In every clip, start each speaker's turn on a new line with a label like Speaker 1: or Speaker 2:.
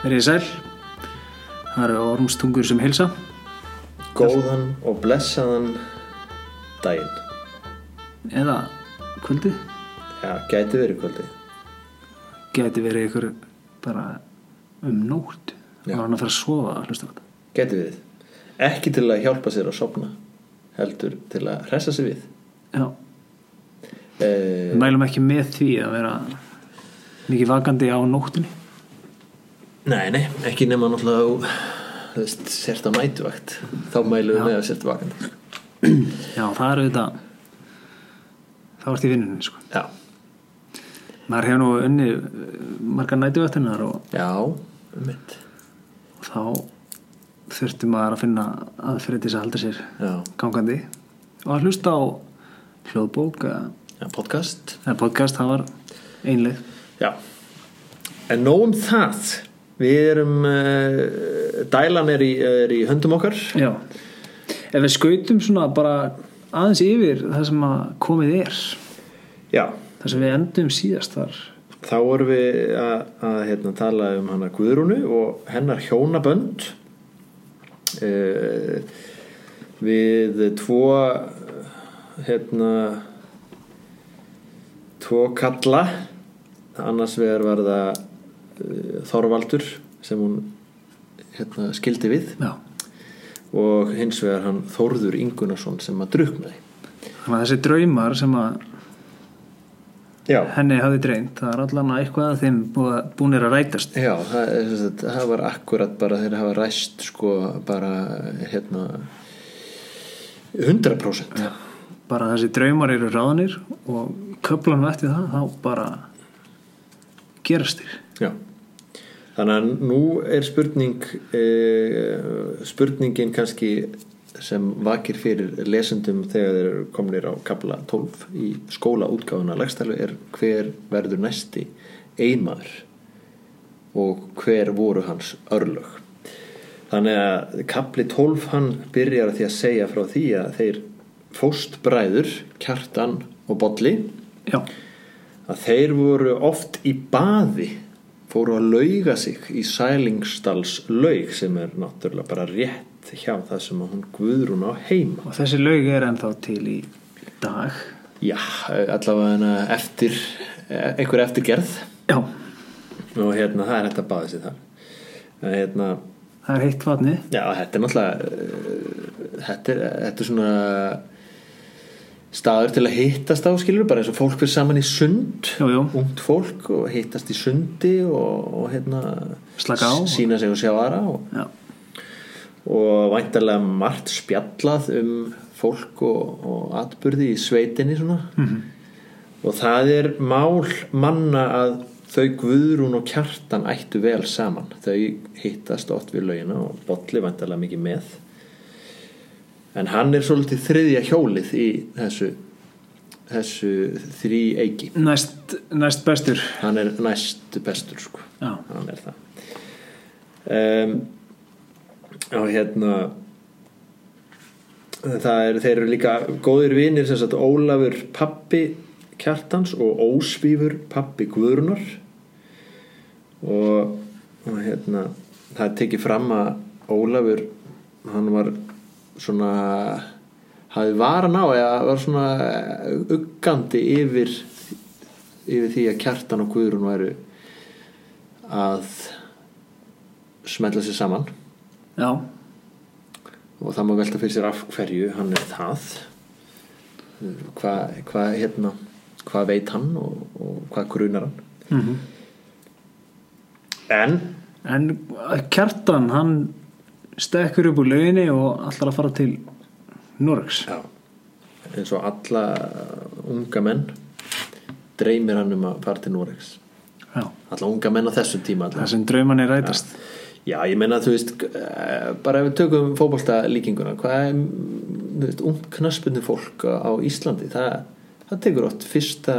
Speaker 1: Verið sæl, það eru ormstungur sem hilsa.
Speaker 2: Góðan og blessaðan daginn.
Speaker 1: Eða kvöldið,
Speaker 2: Já, gæti verið kvöldi.
Speaker 1: gæti verið ykkur bara um nótt.
Speaker 2: Já.
Speaker 1: Það var hann að fara að sofa að hlusta á þetta.
Speaker 2: Gæti verið. Ekki til að hjálpa sér að sopna, heldur til að hressa sér við.
Speaker 1: Já,
Speaker 2: Eh,
Speaker 1: við mælum ekki með því að vera mikið vakandi á nóttinni.
Speaker 2: nei, nei, ekki nema náttúrulega þú þú veist, sért á nætuvakt. Þá mælum við með að sért vakandi.
Speaker 1: Já, það eru þetta, það vart í vinninni, sko.
Speaker 2: Já,
Speaker 1: Maður hefur nú unni margar nætuvættinnar og
Speaker 2: já, mitt.
Speaker 1: og þá þurfti maður að finna aðferði til þess að halda sér
Speaker 2: Já,
Speaker 1: gangandi og að hlusta á hljóðbók eða
Speaker 2: já, podcast.
Speaker 1: eða podcast, það var einleg
Speaker 2: Já. En nóg um það. Við erum, uh, dælan er í, er í höndum okkar.
Speaker 1: Já Ef við skautum svona bara aðeins yfir það sem að komið er
Speaker 2: Já,
Speaker 1: það sem við endum síðast þar
Speaker 2: Þá vorum við að, að hérna, tala um hana Guðrúnu og hennar hjónabönd uh, við tvo hérna tvo kalla annars vegar var það uh, Þorvaldur sem hún hérna, skildi við
Speaker 1: Já,
Speaker 2: og hins vegar hann Þórður Ingunarsson sem að druknaði
Speaker 1: þannig að þessi draumar sem að
Speaker 2: Já,
Speaker 1: henni hafði dreymt, það er allan að eitthvað að þeim búa- búnir að rætast
Speaker 2: Já, það, er sem sagt- það var akkurat bara þeir hafa ræst sko bara hérna 100% Já,
Speaker 1: bara þessi draumar eru ráðanir og köflanum eftir það þá bara gerast þér
Speaker 2: Þannig að nú er spurning eh, spurningin kannski sem vakir fyrir lesendum þegar þeir eru komnir á kapla 12 í skólaútgáfuna lagstælu er hver verður næsti einmaður og hver voru hans örlög þannig að kapli 12 hann byrjar á því að segja frá því að þeir fóstbræður kjartan og bolli
Speaker 1: Já,
Speaker 2: að þeir voru oft í baði fóru að lauga sig í sælingsdals laug sem er náttúrulega bara rétt hjá það sem að hún guðrún á heima
Speaker 1: og þessi laug er ennþá til í dag
Speaker 2: já, allavega hana eftir eh, einhver eftirgerð
Speaker 1: Já,
Speaker 2: og hérna það er hægt að baða sig þar En hérna,
Speaker 1: það er heitt vatni
Speaker 2: já, þetta er náttúrulega eh, þetta er, þetta er svona staður til að hittast á skilur bara eins og fólk fyrir saman í sund
Speaker 1: Jú, jú,
Speaker 2: ungt fólk og hittast í sundi og, og hérna
Speaker 1: Slaka á.
Speaker 2: s- sína sig og sjá aðra og,
Speaker 1: já,
Speaker 2: og væntalega margt spjallað um fólk og, og atburði í sveitinni svona -hmm. og það er mál manna að þau Guðrún og Kjartan ættu vel saman þau hittast oft við laugina og Bolli væntalega mikið með en hann er svolítið þriðja hjólið í þessu þessu þrý eiki
Speaker 1: næst, næst bestur
Speaker 2: hann er næst bestur sko.
Speaker 1: Já.
Speaker 2: hann er það um, og hérna það er, þeir eru líka góðir vinir sem sagt Ólafur pappi kjartans og Ósvífur pappi Guðrunar og, og hérna það er tekið fram að Ólafur hann var svona hafði varan á eða var svona uggandi yfir yfir því að kjartan og Guðrun væru að smetla sér saman
Speaker 1: Já,
Speaker 2: og það má velta fyrir sér af hverju hann er það hvað hva, hérna, hva veit hann og, og hvað grunar hann
Speaker 1: mhm
Speaker 2: en
Speaker 1: En Kjartan, hann stekkur upp úr lauginni og allar að fara til Norgs.
Speaker 2: já, eins og alla unga menn dreymir hann um að fara til Noregs
Speaker 1: Já.
Speaker 2: alla unga menn á þessum tíma allavega.
Speaker 1: Það sem draumanni rætast.
Speaker 2: Já, ég meina þú veist eh, bara ef við tökum fótbolta líkinguna hvað er þú veist, ung knaspunni fólk á á Íslandi það, það tekur oft fyrsta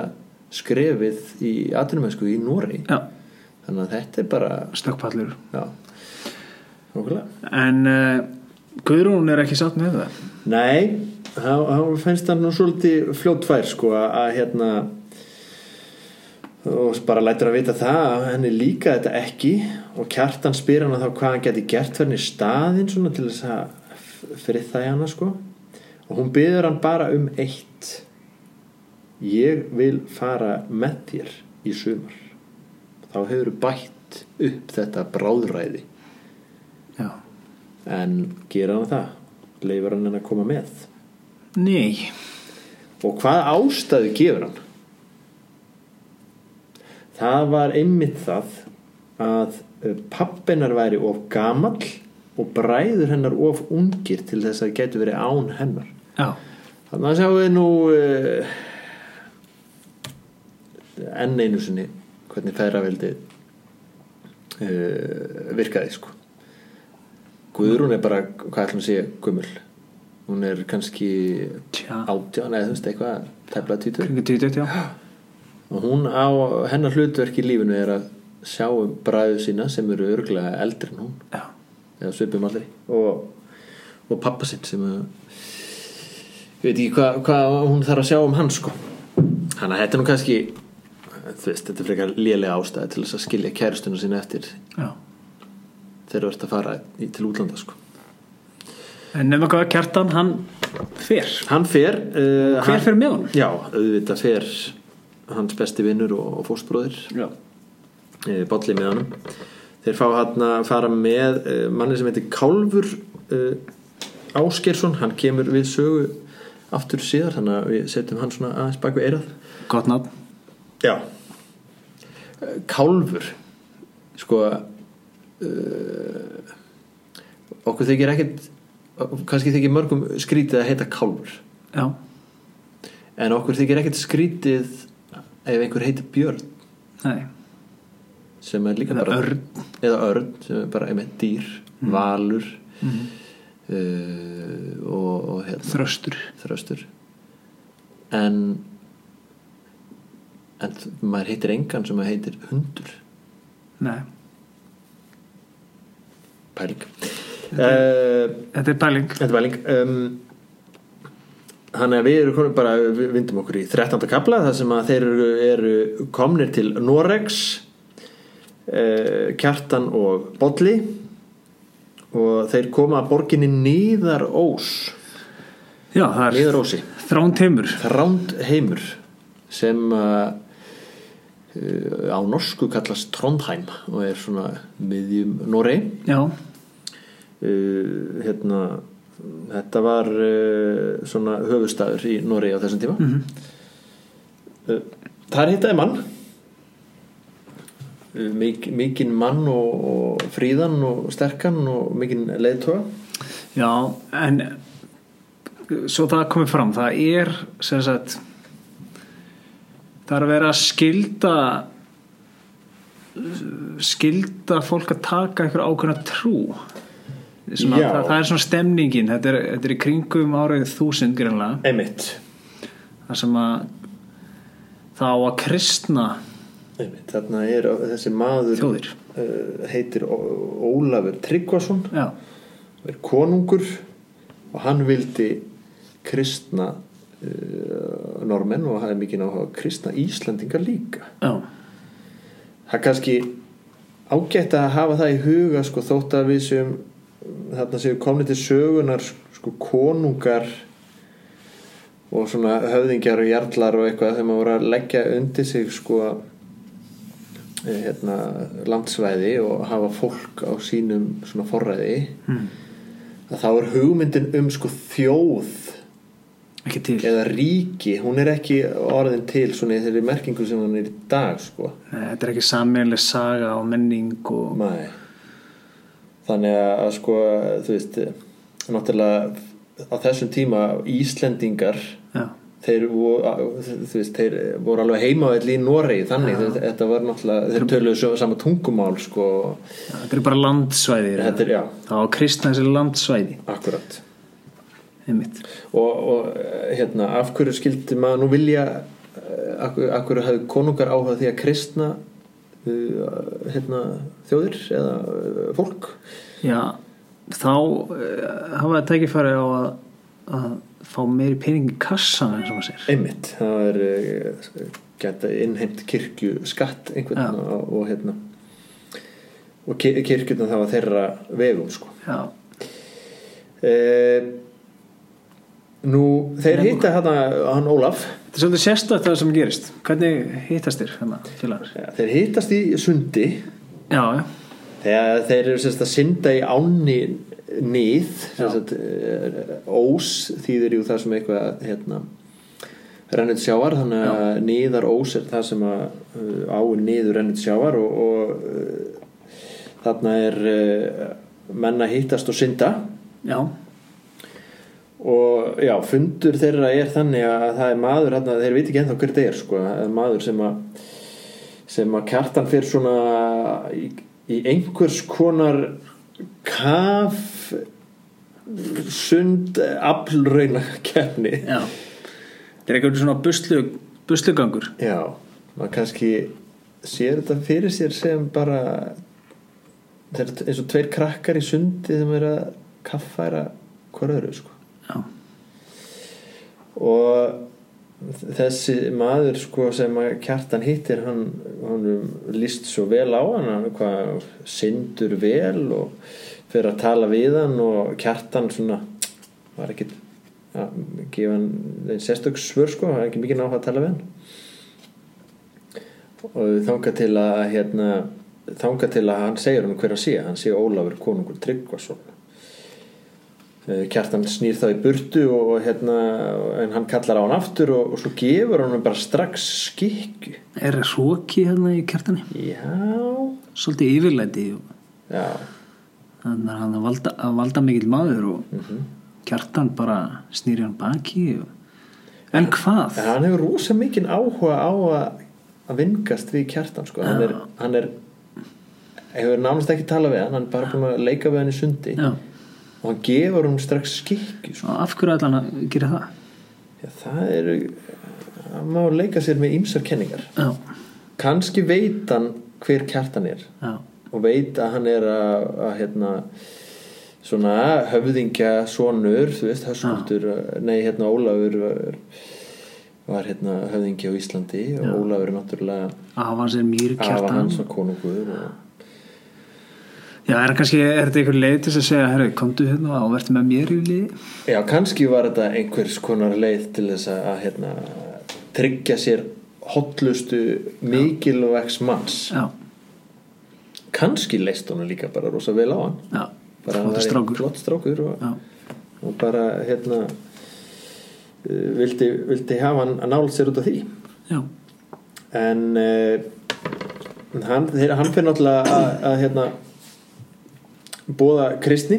Speaker 2: skrefið í atvinnumessku í Noregi
Speaker 1: Já,
Speaker 2: þannig að þetta er bara
Speaker 1: stökkpallur.
Speaker 2: já, okkurlega
Speaker 1: En uh, Guðrún er ekki satt með það.
Speaker 2: Nei, þá þá finnst hann nú svolítið fljóttvær sko að að, hérna og bara lætur að vita það að henni líka þetta ekki og kjartan spyr hann þá hvað hann geti gert fyrir henni í staðinn svona til þess að fyrir það hana sko og hún byður hann bara um eitt ég vil fara með þér í sumar þá hefur bætt upp þetta bráðræði
Speaker 1: já.
Speaker 2: en gera hann það leifur hann henni að koma með
Speaker 1: Nei,
Speaker 2: og hvað ástæðu gefur hann það var einmitt það að pappinar væri of gamall og bræður hennar of ungir til þess að getur verið án hennar
Speaker 1: já,
Speaker 2: þannig að sjáum við nú uh, enn einu sinni hvernig feðraveldi uh, virkaði sko Guðrún er bara hvað ætlum að segja gummul hún er kannski
Speaker 1: Tja.
Speaker 2: átján eða þú veist eitthvað tefla týtur
Speaker 1: kringu 20, já
Speaker 2: og hún á hennar hlutverk í lífinu er að sjá um bræðu sína sem eru örglega eldri en hún
Speaker 1: Já,
Speaker 2: eða svipum allir og, og pappa sinn sem að ég veit ekki hvað hva hún þarf að sjá um hann sko þannig að þetta er nú kannski þú veist, þetta er frekar lélega ástæði til þess að skilja kæristuna sína eftir
Speaker 1: já
Speaker 2: þegar þú ert að fara í, til útlanda sko
Speaker 1: En nefnum hvað kjartan, hann fer
Speaker 2: hann fer uh,
Speaker 1: Hver fer með honum?
Speaker 2: já, auðvitað fer hans besti vinnur og, og fóstbróðir
Speaker 1: Já,
Speaker 2: e, bolli með honum þeir fá hann að fara með eh, manni sem heitir Kálfur eh, Áskersson, hann kemur við sögu aftur síðar þannig að við setjum hann svona aðeins bak við eirað
Speaker 1: gott nátt
Speaker 2: já E, Kálfur sko uh, okkur þykir ekkert kannski þykir mörgum skrítið að heita Kálfur
Speaker 1: Já,
Speaker 2: en okkur þykir ekkert skrítið ef einhver heitir Björn
Speaker 1: nei,
Speaker 2: sem er líka
Speaker 1: Eða
Speaker 2: bara
Speaker 1: örn.
Speaker 2: eða örn sem er bara einmitt dýr valur uh, og, og hérna,
Speaker 1: þröstur
Speaker 2: þröstur en en maður heitir engan sem maður heitir hundur
Speaker 1: Nei,
Speaker 2: pæling uh,
Speaker 1: þetta er pæling
Speaker 2: Þetta var link um, Þannig að við erum komin bara við vindum okkur í 13. kapla þar sem að þeir eru, eru komnir til Norex uh, Kjartan og Bolli og þeir koma að borginni Nýðarós
Speaker 1: Já, það er
Speaker 2: Nýðarósi
Speaker 1: þrán teimur
Speaker 2: Þránd heimur sem uh, uh, á norsku kallast Trondheim og er svona miðjum Norei
Speaker 1: Já,
Speaker 2: uh, hérna þetta var uh, svona höfustafur í Noregi á þessum tíma mm uh, þar hittaði mann uh, mik mikinn mann og, og fríðan og sterkan og mikinn leiðtoga
Speaker 1: já, en svo það komið fram, það er sem sagt það er að vera að skilda skilda fólk að taka einhver ákveðna trú svona,
Speaker 2: Já.
Speaker 1: það, það er svona stemningin þetta er, þetta er í kringum árið þúsund greinlega
Speaker 2: einmitt,
Speaker 1: þar sem að það á að kristna
Speaker 2: einmitt. þarna er þessi maður
Speaker 1: Þjóðir.
Speaker 2: uh, heitir Ó- Ólafur Tryggvason
Speaker 1: já,
Speaker 2: er konungur og hann vildi kristna uh, normenn og hann er mikið náttúrulega að kristna Íslandingar líka
Speaker 1: já,
Speaker 2: það er kannski ágætt að hafa það í huga sko, þótt að við séum þarna séu komni til sögunar sko, konungar og svona höfðingjar og jarlar og eitthvað þegar maður voru að leggja undir sig sko eh, hérna, landsvæði og hafa fólk á sínum svona forræði mm. að þá er hugmyndin um sko þjóð
Speaker 1: ekki til
Speaker 2: eða ríki, hún er ekki orðin til svona í þeirri merkingu sem hún er í dag sko
Speaker 1: Nei, þetta er ekki sammeðlega saga og menning og
Speaker 2: Nei. Þannig að, að sko, þú veist, náttúrulega á þessum tíma Íslendingar,
Speaker 1: já,
Speaker 2: þeir, vo- þú veist, þeir voru alveg heimavelli í Noregi, þannig ja. þetta var náttúrulega, þeir töluðu svo- sama tungumál, sko,
Speaker 1: já, þetta er bara landsvæðir
Speaker 2: þetta er, já,
Speaker 1: það á að kristna þessi landsvæði
Speaker 2: akkurat.
Speaker 1: einmitt.
Speaker 2: Og, og eh, hérna, af hverju skildi maður nú vilja, eh, af hverju- af hverju hafði konungar áhuga á því að kristna, uh, hérna, þjóðir eða eh, fólk?
Speaker 1: já, þá eh, hafa það tekið farið á að, að fá meiri pening í kassan eins og maður sér
Speaker 2: einmitt, það er eh, geta innheimt kirkju skatt einhvern
Speaker 1: Já.
Speaker 2: og, og hérna og ki- kirkjurnar það var þeirra vegum sko
Speaker 1: já,
Speaker 2: e, nú, þeir hitta hann, hann Ólaf
Speaker 1: þetta er svolítið sérstætt það sem gerist hvernig hittast þér hérna félagar
Speaker 2: ja, þeir hittast í sundi
Speaker 1: já, já,
Speaker 2: þegar þeir eru sérst að synda í ánni nýð
Speaker 1: Já.
Speaker 2: sérst, ós þýðir jú það sem eitthvað hérna rennit sjávar, þannig að niðar ós er það sem að uh, áin niður rennit sjávar og, og uh, þarna er uh, menn að hittast og synda
Speaker 1: já,
Speaker 2: og já, fundur þeirra er þannig að það er maður þarna, þeir veit ekki ennþá hver það er sko, það er maður sem að sem að kjartan fyrir svona í, í einhvers konar kaf sund aflrauna kefni
Speaker 1: já. þetta er eitthvað svona buslu, buslugangur
Speaker 2: já, maður kannski sér þetta fyrir sér sem bara þeir eru eins og tveir krakkar í sundi sem er að kaffæra hver öðru sko
Speaker 1: já,
Speaker 2: og þessi maður sko sem að kjartan hittir hann, hann líst svo vel á hann hann hvað syndur vel og fyrir að tala við hann og kjartan svona var ekkit að gefa hann einn sérstök svör sko, hann er ekki mikið nátt að tala við hann og þanga til að hérna, þanga til að hann segir hann hver hann sé hann sé Ólafur konungur Tryggvason Eh, Kjartan snýr þá í burtu og, og hérna, en hann kallar á hann aftur og, og svo gefur hann bara strax skikku.
Speaker 1: er hróki hérna í kjartani
Speaker 2: Já,
Speaker 1: svolítið yfirlæti og
Speaker 2: já,
Speaker 1: þannig að hann er valda, að valda mikill maður og kjartan bara snýri hann baki og... en hvað?
Speaker 2: en hann hefur rosa mikinn áhuga á að, að vingast við kjartan, sko. Hann er, hann er, hefur nánast ekki talað við hann, hann er bara búin að leika við hann í sundi
Speaker 1: Já.
Speaker 2: og hann gefur hann strax skikku, sko.
Speaker 1: og af hverju ætla hann að gera það?
Speaker 2: Já, það eru, hann má leika sér með ýmsar kenningar.
Speaker 1: já,
Speaker 2: Kanski veit hann hver kjartan er.
Speaker 1: já,
Speaker 2: og veit að hann er að, að hérna svona höfðingja sonur þú veist, Höskuldur,
Speaker 1: Ah.
Speaker 2: nei hérna Ólafur var, var hérna höfðingja á Íslandi og Ólafur er náttúrulega
Speaker 1: að hafa sér mýri
Speaker 2: afa
Speaker 1: kjartan
Speaker 2: hans og konungur og
Speaker 1: já, er kannski, er þetta einhver leið til þess að segja herru, komdu hérna og verður með mér í liði
Speaker 2: já, kannski var þetta einhvers konar leið til þess að, að hérna tryggja sér hotlustu mikilvægs manns
Speaker 1: já,
Speaker 2: kannski leist honum líka bara rosa vel á hann
Speaker 1: já,
Speaker 2: bara
Speaker 1: flottur strákur
Speaker 2: flott strákur og,
Speaker 1: já,
Speaker 2: og bara hérna eh, vildi, vildi hafa hann að nála sér út af því
Speaker 1: já,
Speaker 2: en uh, hann, þeir, hann fyrir náttúrulega að, að hérna bóða kristni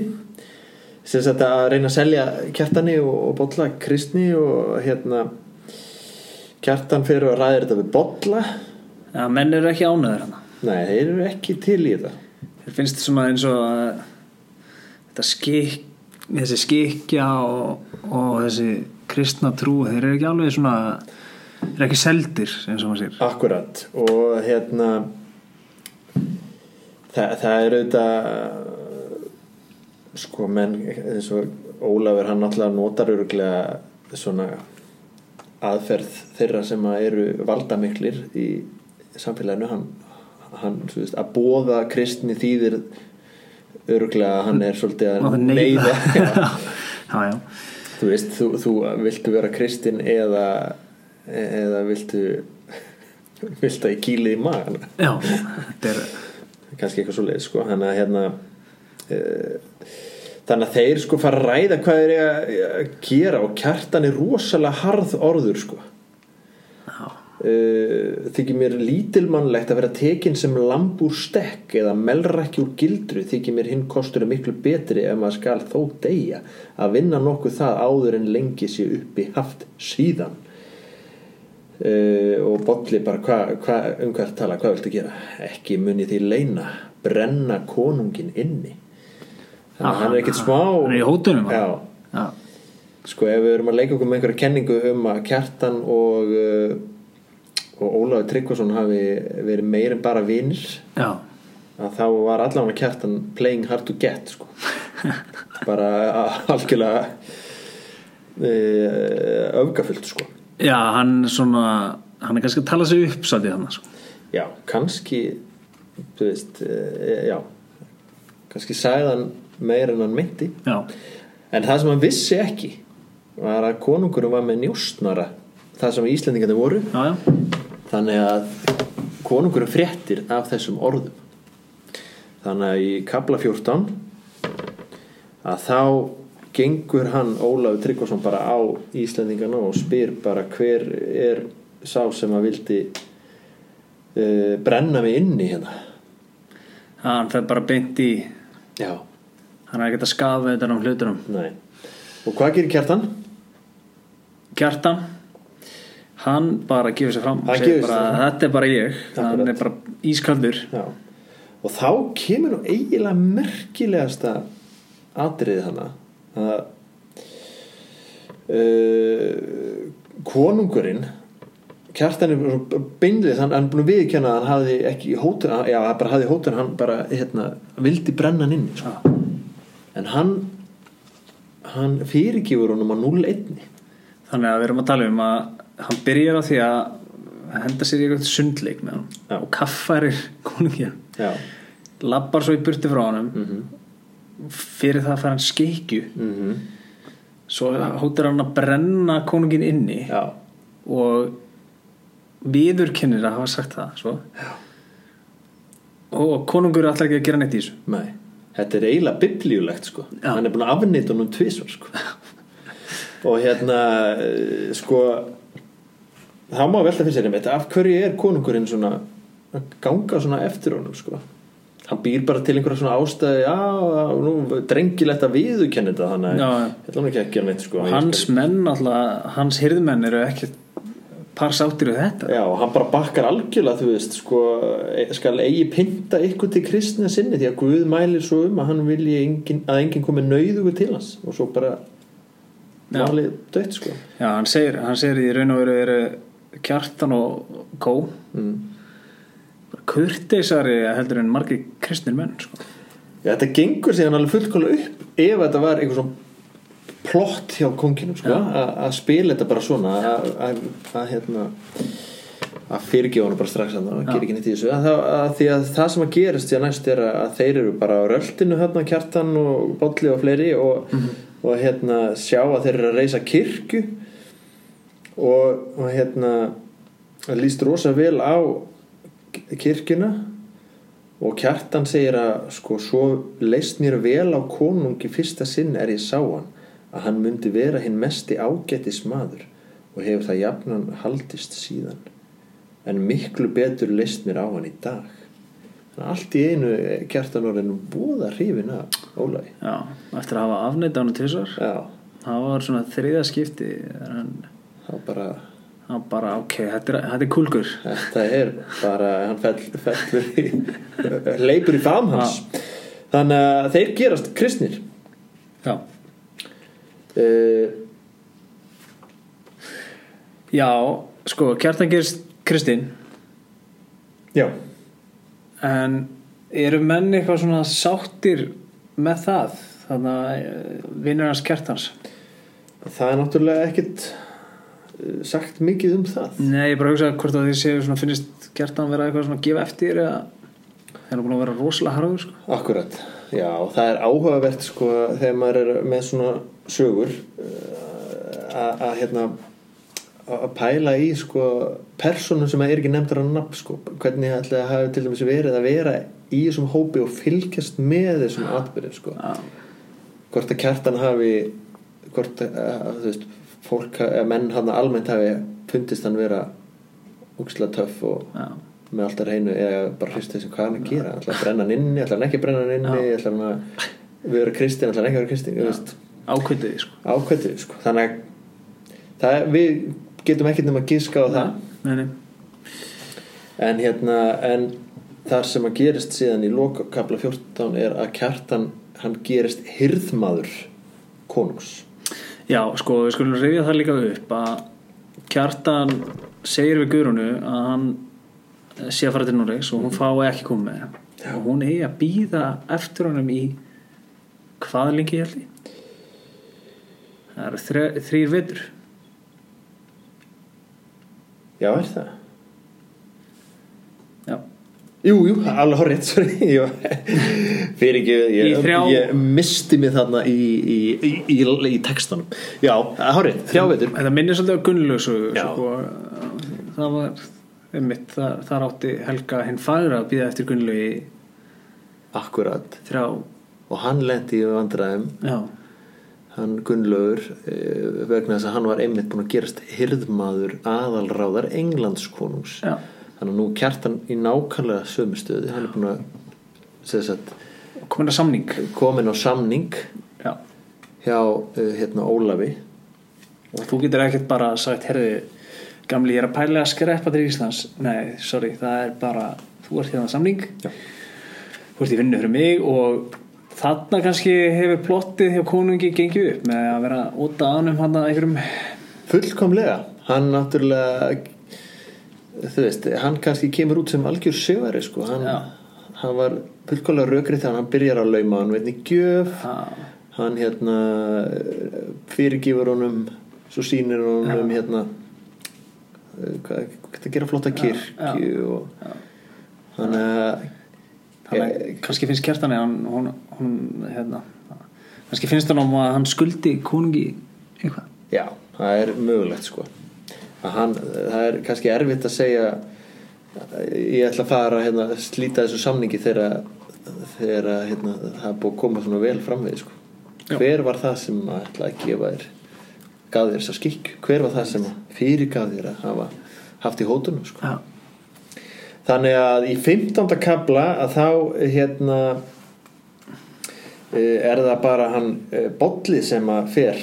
Speaker 2: sem sagt að reyna að selja kjartani og, og bolla kristni og hérna kjartan fyrir að ræða þetta við bolla
Speaker 1: já, menn eru ekki ánæður hann
Speaker 2: nei, þeir eru ekki til í þetta
Speaker 1: Mér finnst þetta svona eins og að þetta skik, þessi skikja og, og þessi kristna trú, þeir eru ekki alveg svona, þeir eru ekki seldir eins og maður sér.
Speaker 2: Akkurat og hérna það, það er auðvitað sko menn eins og Ólafur hann náttúrulega notar öruglega svona aðferð þeirra sem að eru valdamiklir í samfélaginu hann, hann þú veist, að bóða kristni þýðir öruglega að hann er svolítið
Speaker 1: Má
Speaker 2: að
Speaker 1: það
Speaker 2: neyða Já.
Speaker 1: já, já,
Speaker 2: þú veist, þú, þú viltu vera kristinn eða eða viltu viltu að ég kýli í magan
Speaker 1: já, þetta er,
Speaker 2: kannski eitthvað svo leið, sko þannig að hérna e, þannig að þeir sko fara að ræða hvað er að að gera og kjartan er rosalega harð orður, sko
Speaker 1: já,
Speaker 2: Uh, þykir mér lítilmannlegt að vera tekin sem lamb úr stekk eða melrakki úr gildru þykir mér hinn kostur er miklu betri ef maður skal þó deyja að vinna nokkuð það áður en lengi sé uppi haft síðan uh, og bolli bara hva, hva, um hvað ertu að tala, hvað viltu gera ekki muni því leina brenna konungin inni þannig að hann er ekkit smá
Speaker 1: hann er í hótunum, hann.
Speaker 2: já,
Speaker 1: já,
Speaker 2: sko ef við erum að leika okkur með einhverja kenningu um að Kjartan og uh, og Ólafur Tryggvason hafi verið meir en bara vinnir
Speaker 1: já,
Speaker 2: að þá var allavega Kjartan playing hard to get sko bara a- algjörlega eh, öfgafullt sko
Speaker 1: Já, hann svona hann er kannski að tala sig upp svolítið hann sko.
Speaker 2: já, kannski þú veist, eh, já kannski sagðan meira en hann myndi
Speaker 1: Já,
Speaker 2: en það sem hann vissi ekki var að konungurum var með njóstnara það sem Íslendingarnir voru
Speaker 1: já, já
Speaker 2: þannig að konungurum fréttir af þessum orðum þannig að í kabla 14 að þá gengur hann Ólafur Tryggvason bara á Íslendingana og spyr bara hver er sá sem að vildi uh, brenna mig inni hérna
Speaker 1: Hann fer bara beint í
Speaker 2: já,
Speaker 1: hann er ekkert að skafa þetta um hlutunum
Speaker 2: nei og hvað gerir kjartan?
Speaker 1: Kjartan hann bara gefur sér fram og
Speaker 2: Hann
Speaker 1: segir
Speaker 2: gefur sig
Speaker 1: bara, þetta er bara ég hann
Speaker 2: Akkurat.
Speaker 1: er bara ískaldur
Speaker 2: já og þá kemur nú eiginlega merkilegasta atriðið hana að uh, konungurinn kjartan er beinlið hann hann er búin að viðkjanna að hann hafði ekki hótun, já, hann bara hafði hótun hann bara hérna, vildi brenna hann inn sko. en hann hann fyrirgifur honum að 0-1
Speaker 1: þannig að við erum að tala um að hann byrjar á því að henda sér í eitthvað sundleik með hann
Speaker 2: Já.
Speaker 1: og kaffarir konungin
Speaker 2: já,
Speaker 1: lappar svo í burti frá honum
Speaker 2: Mhm.
Speaker 1: fyrir það að fara hann skeikju
Speaker 2: mm
Speaker 1: svo hóttir hann að brenna konungin inni
Speaker 2: já,
Speaker 1: og viðurkennir að hafa sagt það svo. og konungur er alltaf ekki að gera neitt í þessu
Speaker 2: nei þetta er eiginlega biblíulegt sko
Speaker 1: Já.
Speaker 2: hann er búin að afnýta honum tvisvar sko og hérna eh, sko þá má velta fyrir sér einmitt af hverju er konungurinn svona að ganga svona eftir honum sko hann býr bara til einhverja svona ástæði já, nú drengilegt að viðukenni þetta þannig
Speaker 1: Já,
Speaker 2: að
Speaker 1: já.
Speaker 2: ég ætla nú ekki að gera neitt sko
Speaker 1: og hans menn alltaf, hans hirðmenn eru ekki par sáttir við þetta
Speaker 2: Já, og hann bara bakkar algjörlega, þú veist, sko, e- skal eigi pynta ykkur til kristna sinni því að Guð mælir svo um að hann vilji engin, að enginn komi nauðugur til hans og svo bara
Speaker 1: Já.
Speaker 2: málið dött, sko.
Speaker 1: já, hann segir, hann segir í raun og veru eru kjartan og kó
Speaker 2: Mm.
Speaker 1: kurteisari heldur en margir kristnir menn sko.
Speaker 2: Já, þetta gengur síðan alveg fullkomlega upp ef þetta var einhver svona plott hjá konginum, sko, að að spila þetta bara svona, að, að, að hérna að fyrirgefa honum bara strax að það gerir ekki neitt í þessu að, að, að því að það sem að gerist því að næst er að, að þeir eru bara á röldinu hérna kjartan og bolli og fleiri og, og hérna sjá að þeir eru að reysa kirkju og, og hérna það líst rosa vel á ki- kirkjuna og kjartan segir að sko svo leist mér vel á konung í fyrsta sinn er ég sá hann að hann myndi vera hinn mesti ágætis maður og hefur það jafnan haldist síðan en miklu betur leist mér á hann í dag Þannig að allt í einu er kjartan orðin voða hrifin af Ólafi
Speaker 1: já, eftir að hafa afneitt á hann tvisar
Speaker 2: já,
Speaker 1: það var svona þriða skipti þegar hann,
Speaker 2: það er bara
Speaker 1: hann bara ok, þetta er, þetta er kulgur
Speaker 2: þetta er bara hann fell, fellur í leipur í fam hans þannig að þeir gerast kristnir
Speaker 1: já,
Speaker 2: uh,
Speaker 1: já sko, kjartan gerist kristinn
Speaker 2: já
Speaker 1: En eru menn eitthvað svona sáttir með það? Þannig að vinnur hans kjartans?
Speaker 2: það er náttúrulega ekkit eh, sagt mikið um það
Speaker 1: Nei, ég bara hugsaði hvort að þið séu svona finnist kjartan vera eitthvað svona að gefa eftir eða þeir eru búin að vera rosalega harður sko.
Speaker 2: akkurat, já og það er áhugavert sko þegar maður er með svona sögur eh, að að, hérna að að pæla í sko persónum sem er ekki nefndur á nafn sko hvernig ætli að hafa til dæmis verið að vera í þessum hópi og fylgjast með þessum atbyrðum sko
Speaker 1: Já,
Speaker 2: hvort að kjartan hafi hvort að, að þú veist fólk, að menn hann almennt hafi fundist hann vera úksla töff og
Speaker 1: já,
Speaker 2: með alltaf reynu eða bara hlust þessum hvað er hann að gera ætla að brenna hann inni, ætla hann ekki að brenna hann inni ætla hann að vera kristinn, ætla hann ekki að vera kristinn þú veist,
Speaker 1: ákvöndiði sko.
Speaker 2: ákvættu sko. þannig að það, er- við getum ekkert nema að gíska á það
Speaker 1: Nei, nei.
Speaker 2: en hérna en þar sem að gerist síðan í lokakabla 14 er að kjartan hann gerist hirðmaður konungs
Speaker 1: Já, sko, við skulum rifja það líka upp að kjartan segir við Guðrúnu að hann sé að fara til Noregs og hún fái ekki komið með hann. Og hún eigi að býða eftir honum í hvað lengi ég held ég? það eru þre- þrír vetur
Speaker 2: Já, er það?
Speaker 1: já,
Speaker 2: Jú, jú, alveg horrið, sorry jú. Fyrir ekki,
Speaker 1: Í
Speaker 2: ég,
Speaker 1: þrjá-
Speaker 2: ég misti mig þarna í, í, í, í, í textanum Já, horrið, þrjá veitur
Speaker 1: þetta minnir svolítið á Gunnlaug
Speaker 2: Já.
Speaker 1: sko, það var einmitt, þar, þar átti Helga hinn fagra að býða eftir Gunnlaug í
Speaker 2: Akkurat
Speaker 1: þrjá
Speaker 2: Og hann lendi í vandræðum
Speaker 1: já,
Speaker 2: hann Gunnlaugur eh, vegna þess að hann var einmitt búinn að gerast hirðmaður aðalráðar Englandskonungs
Speaker 1: Já.
Speaker 2: þannig að nú kjartan í nákvæmlega sömu stöðu hann er búinn að sem sagt,
Speaker 1: komin að samning
Speaker 2: komin á samning
Speaker 1: já,
Speaker 2: hjá eh, hérna Ólafi
Speaker 1: og þú getur ekkert bara sagt herði, gamli ég er að pæla að skreppa til Íslands nei, sorry, það er bara þú ert hérna samning
Speaker 2: Já.
Speaker 1: þú ert í vinnu fyrir mig og þarna kannski hefur plottið hjá konungi gengið upp með að vera út að anum hann að einhverjum
Speaker 2: fullkomlega hann náttúrulega þú veist, hann kannski kemur út sem algjör sögari sko hann,
Speaker 1: Já.
Speaker 2: hann var fullkomlega rökrið þegar hann byrjar að lauma hann veitni gjöf
Speaker 1: ha,
Speaker 2: hann hérna eh, fyrirgifur honum svo sýnir honum hérna eh, hvað hvað það gera flotta kirkju og eh, þannig að
Speaker 1: þannig,
Speaker 2: Eh,
Speaker 1: kannski finnst kjartani hann, hún, hún, hérna, kannski finnst hann um að hann skuldi konungi eitthvað
Speaker 2: já, það er mögulegt sko að hann, það er kannski erfitt að segja eh, ég ætla að fara hérna, að slíta þessu samningi þegar þegar hérna, það er búið að koma svona vel fram við sko.
Speaker 1: Já.
Speaker 2: hver var það sem að ætla að gefa þér gaf þér þess að skikk hver var það sem fyrir gaf þér að hafa haft í hótunum sko.
Speaker 1: já,
Speaker 2: Þannig að í 15. kabla að þá hérna eh, er það bara hann eh, bollið sem að fer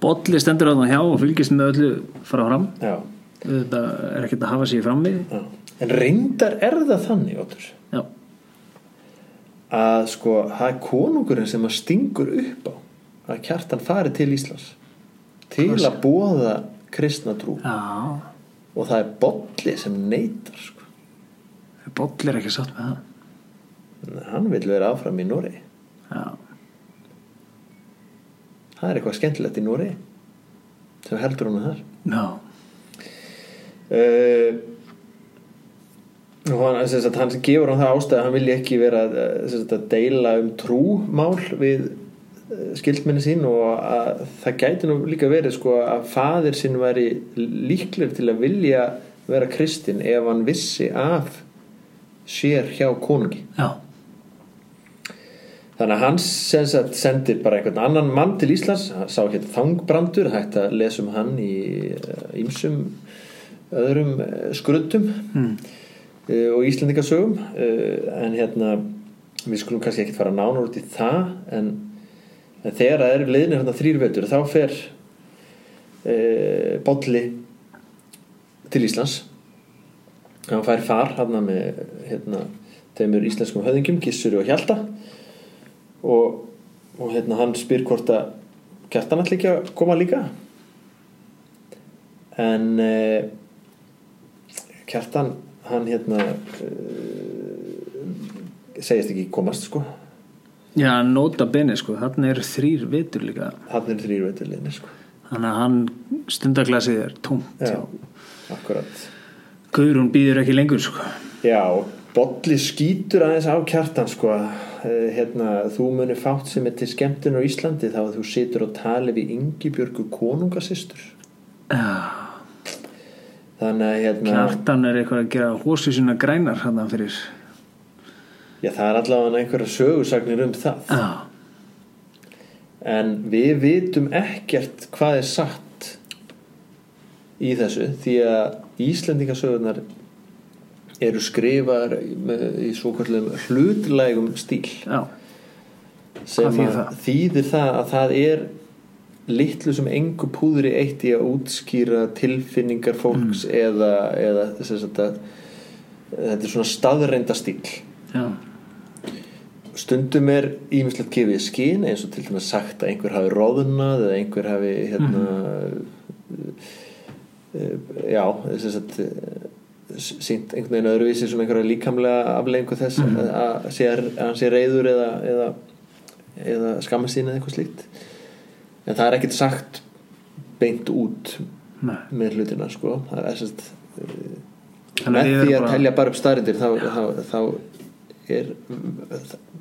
Speaker 1: Bolli stendur á það hjá og fylgist með öllu frá fram
Speaker 2: já,
Speaker 1: þetta er ekkert að hafa sér frammi
Speaker 2: já. en reyndar er það þannig Otur,
Speaker 1: já,
Speaker 2: að sko það er konungurinn sem að stingur upp á að kjartan fari til Íslands til að bóða kristna trú
Speaker 1: já
Speaker 2: og það er bollið sem neytar sko.
Speaker 1: Bolli er ekki satt með það
Speaker 2: hann vil vera áfram í Nóri
Speaker 1: já,
Speaker 2: það er eitthvað skemmtilegt í Nóri sem heldur hann að þar
Speaker 1: já,
Speaker 2: uh, og hann, sem sagt, hann gefur hann það ástæð að hann vilji ekki vera eh, sem sagt, að deila um trúmál við eh, skildmenni sín og að það gæti nú líka verið sko að faðir sinn væri líklegur til að vilja vera kristinn ef hann vissi af sér hjá konungi
Speaker 1: já.
Speaker 2: Þannig að hans sem sagt sendir bara einhvern annan mann til Íslands, hann sá hér þangbrandur, hægt að lesa um hann í ymsum öðrum eh, skröndum
Speaker 1: Hmm.
Speaker 2: mm. og Íslandingasögum eh, en hérna við skulum kannski ekkert fara nánar út í það en, en þegar það eru leiðinir hérna þrýr vetur þá fer e, bolli til Íslands hann fær far hérna með hérna, þeimur íslenskum höðingjum, Gissuri og Hjalta og, og hérna hann spyr hvort að kjartan allir ekki að koma líka en eh, kjartan hann hérna eh, segist ekki komast sko
Speaker 1: já, nota bene sko þarna eru þrýr vitur líka
Speaker 2: hann er þrýr veiturliðinni sko
Speaker 1: þannig að hann stundaglasið er tómt
Speaker 2: já,
Speaker 1: já.
Speaker 2: akkurat
Speaker 1: Guðrún býður ekki lengur sko
Speaker 2: já, bolli skýtur aðeins á kjartan sko eh, hérna, þú munir fátt sem er til skemmtun á Íslandi þá að þú situr og tali við Ingibjörgu konungasistur
Speaker 1: já
Speaker 2: þannig að hérna
Speaker 1: Kjartan er eitthvað að gera hósu sína grænar hann fyrir
Speaker 2: Já, það er allavega einhverja sögursagnir um það.
Speaker 1: Já,
Speaker 2: En við vitum ekkert hvað er satt í þessu því að Íslendingasögurnar eru skrifaðar með- í svo kvöldum hlutlægum stíl
Speaker 1: já,
Speaker 2: sem
Speaker 1: Hvað þýðir
Speaker 2: að
Speaker 1: það?
Speaker 2: þýðir það að það er litlu sem engu púðri eitt í að útskýra tilfinningar fólks
Speaker 1: Mm.
Speaker 2: eða, eða sem sagt að, þetta er svona staðreinda stíl
Speaker 1: já,
Speaker 2: stundum er ímislegt gefið í skín eins og til dæmis sagt að einhver hafi róðunað eða einhver hafi hérna uh, já þess að sínt einhvern veginn öðruvísi svona einhverja líkamlega afleggingu þess mm -hmm. að, sé- að hann sé reyður eða, eða, eða skamma sín eða eitthvað slíkt en það er ekkert sagt beint út
Speaker 1: Nei.
Speaker 2: með hlutina sko það er sérst eh,
Speaker 1: Þannig að
Speaker 2: með
Speaker 1: við
Speaker 2: því
Speaker 1: erum
Speaker 2: að
Speaker 1: bara-
Speaker 2: telja bara upp starindir þá, þá, þá er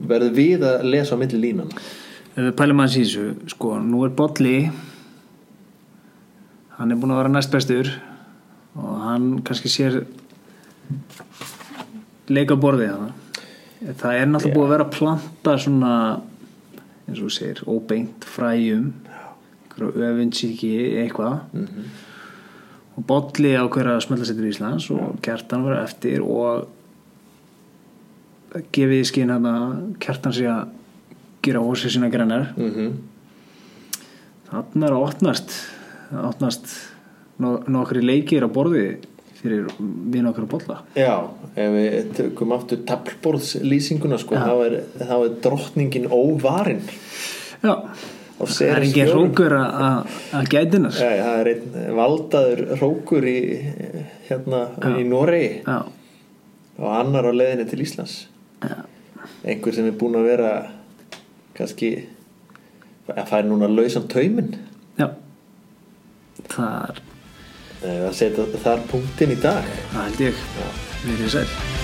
Speaker 2: verður við að lesa á milli línan
Speaker 1: Ef við pælum aðeins í þessu, sko, nú er Bolli, hann er búin að vera næstbestur og hann kannski sér leika borðið hann. Það er náttúrulega búið að vera að planta svona, eins og þú segir, óbeint fræjum, einhverja öfinsíki, eitthvað.
Speaker 2: Mhm.
Speaker 1: Og Bolli á hverja smöldasettur Íslands og Kjartan vera eftir og gefið í skinn hann að Kjartan sé að gera ósið sína grannar.
Speaker 2: mm -hmm.
Speaker 1: Þannig er að opnast opnast no- nokkri leikir á borði fyrir vinn okkar að bolla
Speaker 2: Já, ef við tökum aftur tablborðslýsinguna sko,
Speaker 1: Já.
Speaker 2: þá er, þá er drottningin óvarinn
Speaker 1: Já,
Speaker 2: á
Speaker 1: það er
Speaker 2: Ceres
Speaker 1: ekki
Speaker 2: fjórum.
Speaker 1: hrókur að- að að gætina
Speaker 2: Já, já, það er einn valdaður hrókur í, hérna, í Noregi
Speaker 1: Já,
Speaker 2: og annar á leiðinni til Íslands
Speaker 1: já,
Speaker 2: einhver sem er búin að vera kannski að fær núna lausan tauminn
Speaker 1: já. Það er,
Speaker 2: Eh, að setja þar punktin í dag
Speaker 1: það held ég
Speaker 2: Já.
Speaker 1: við erum sæl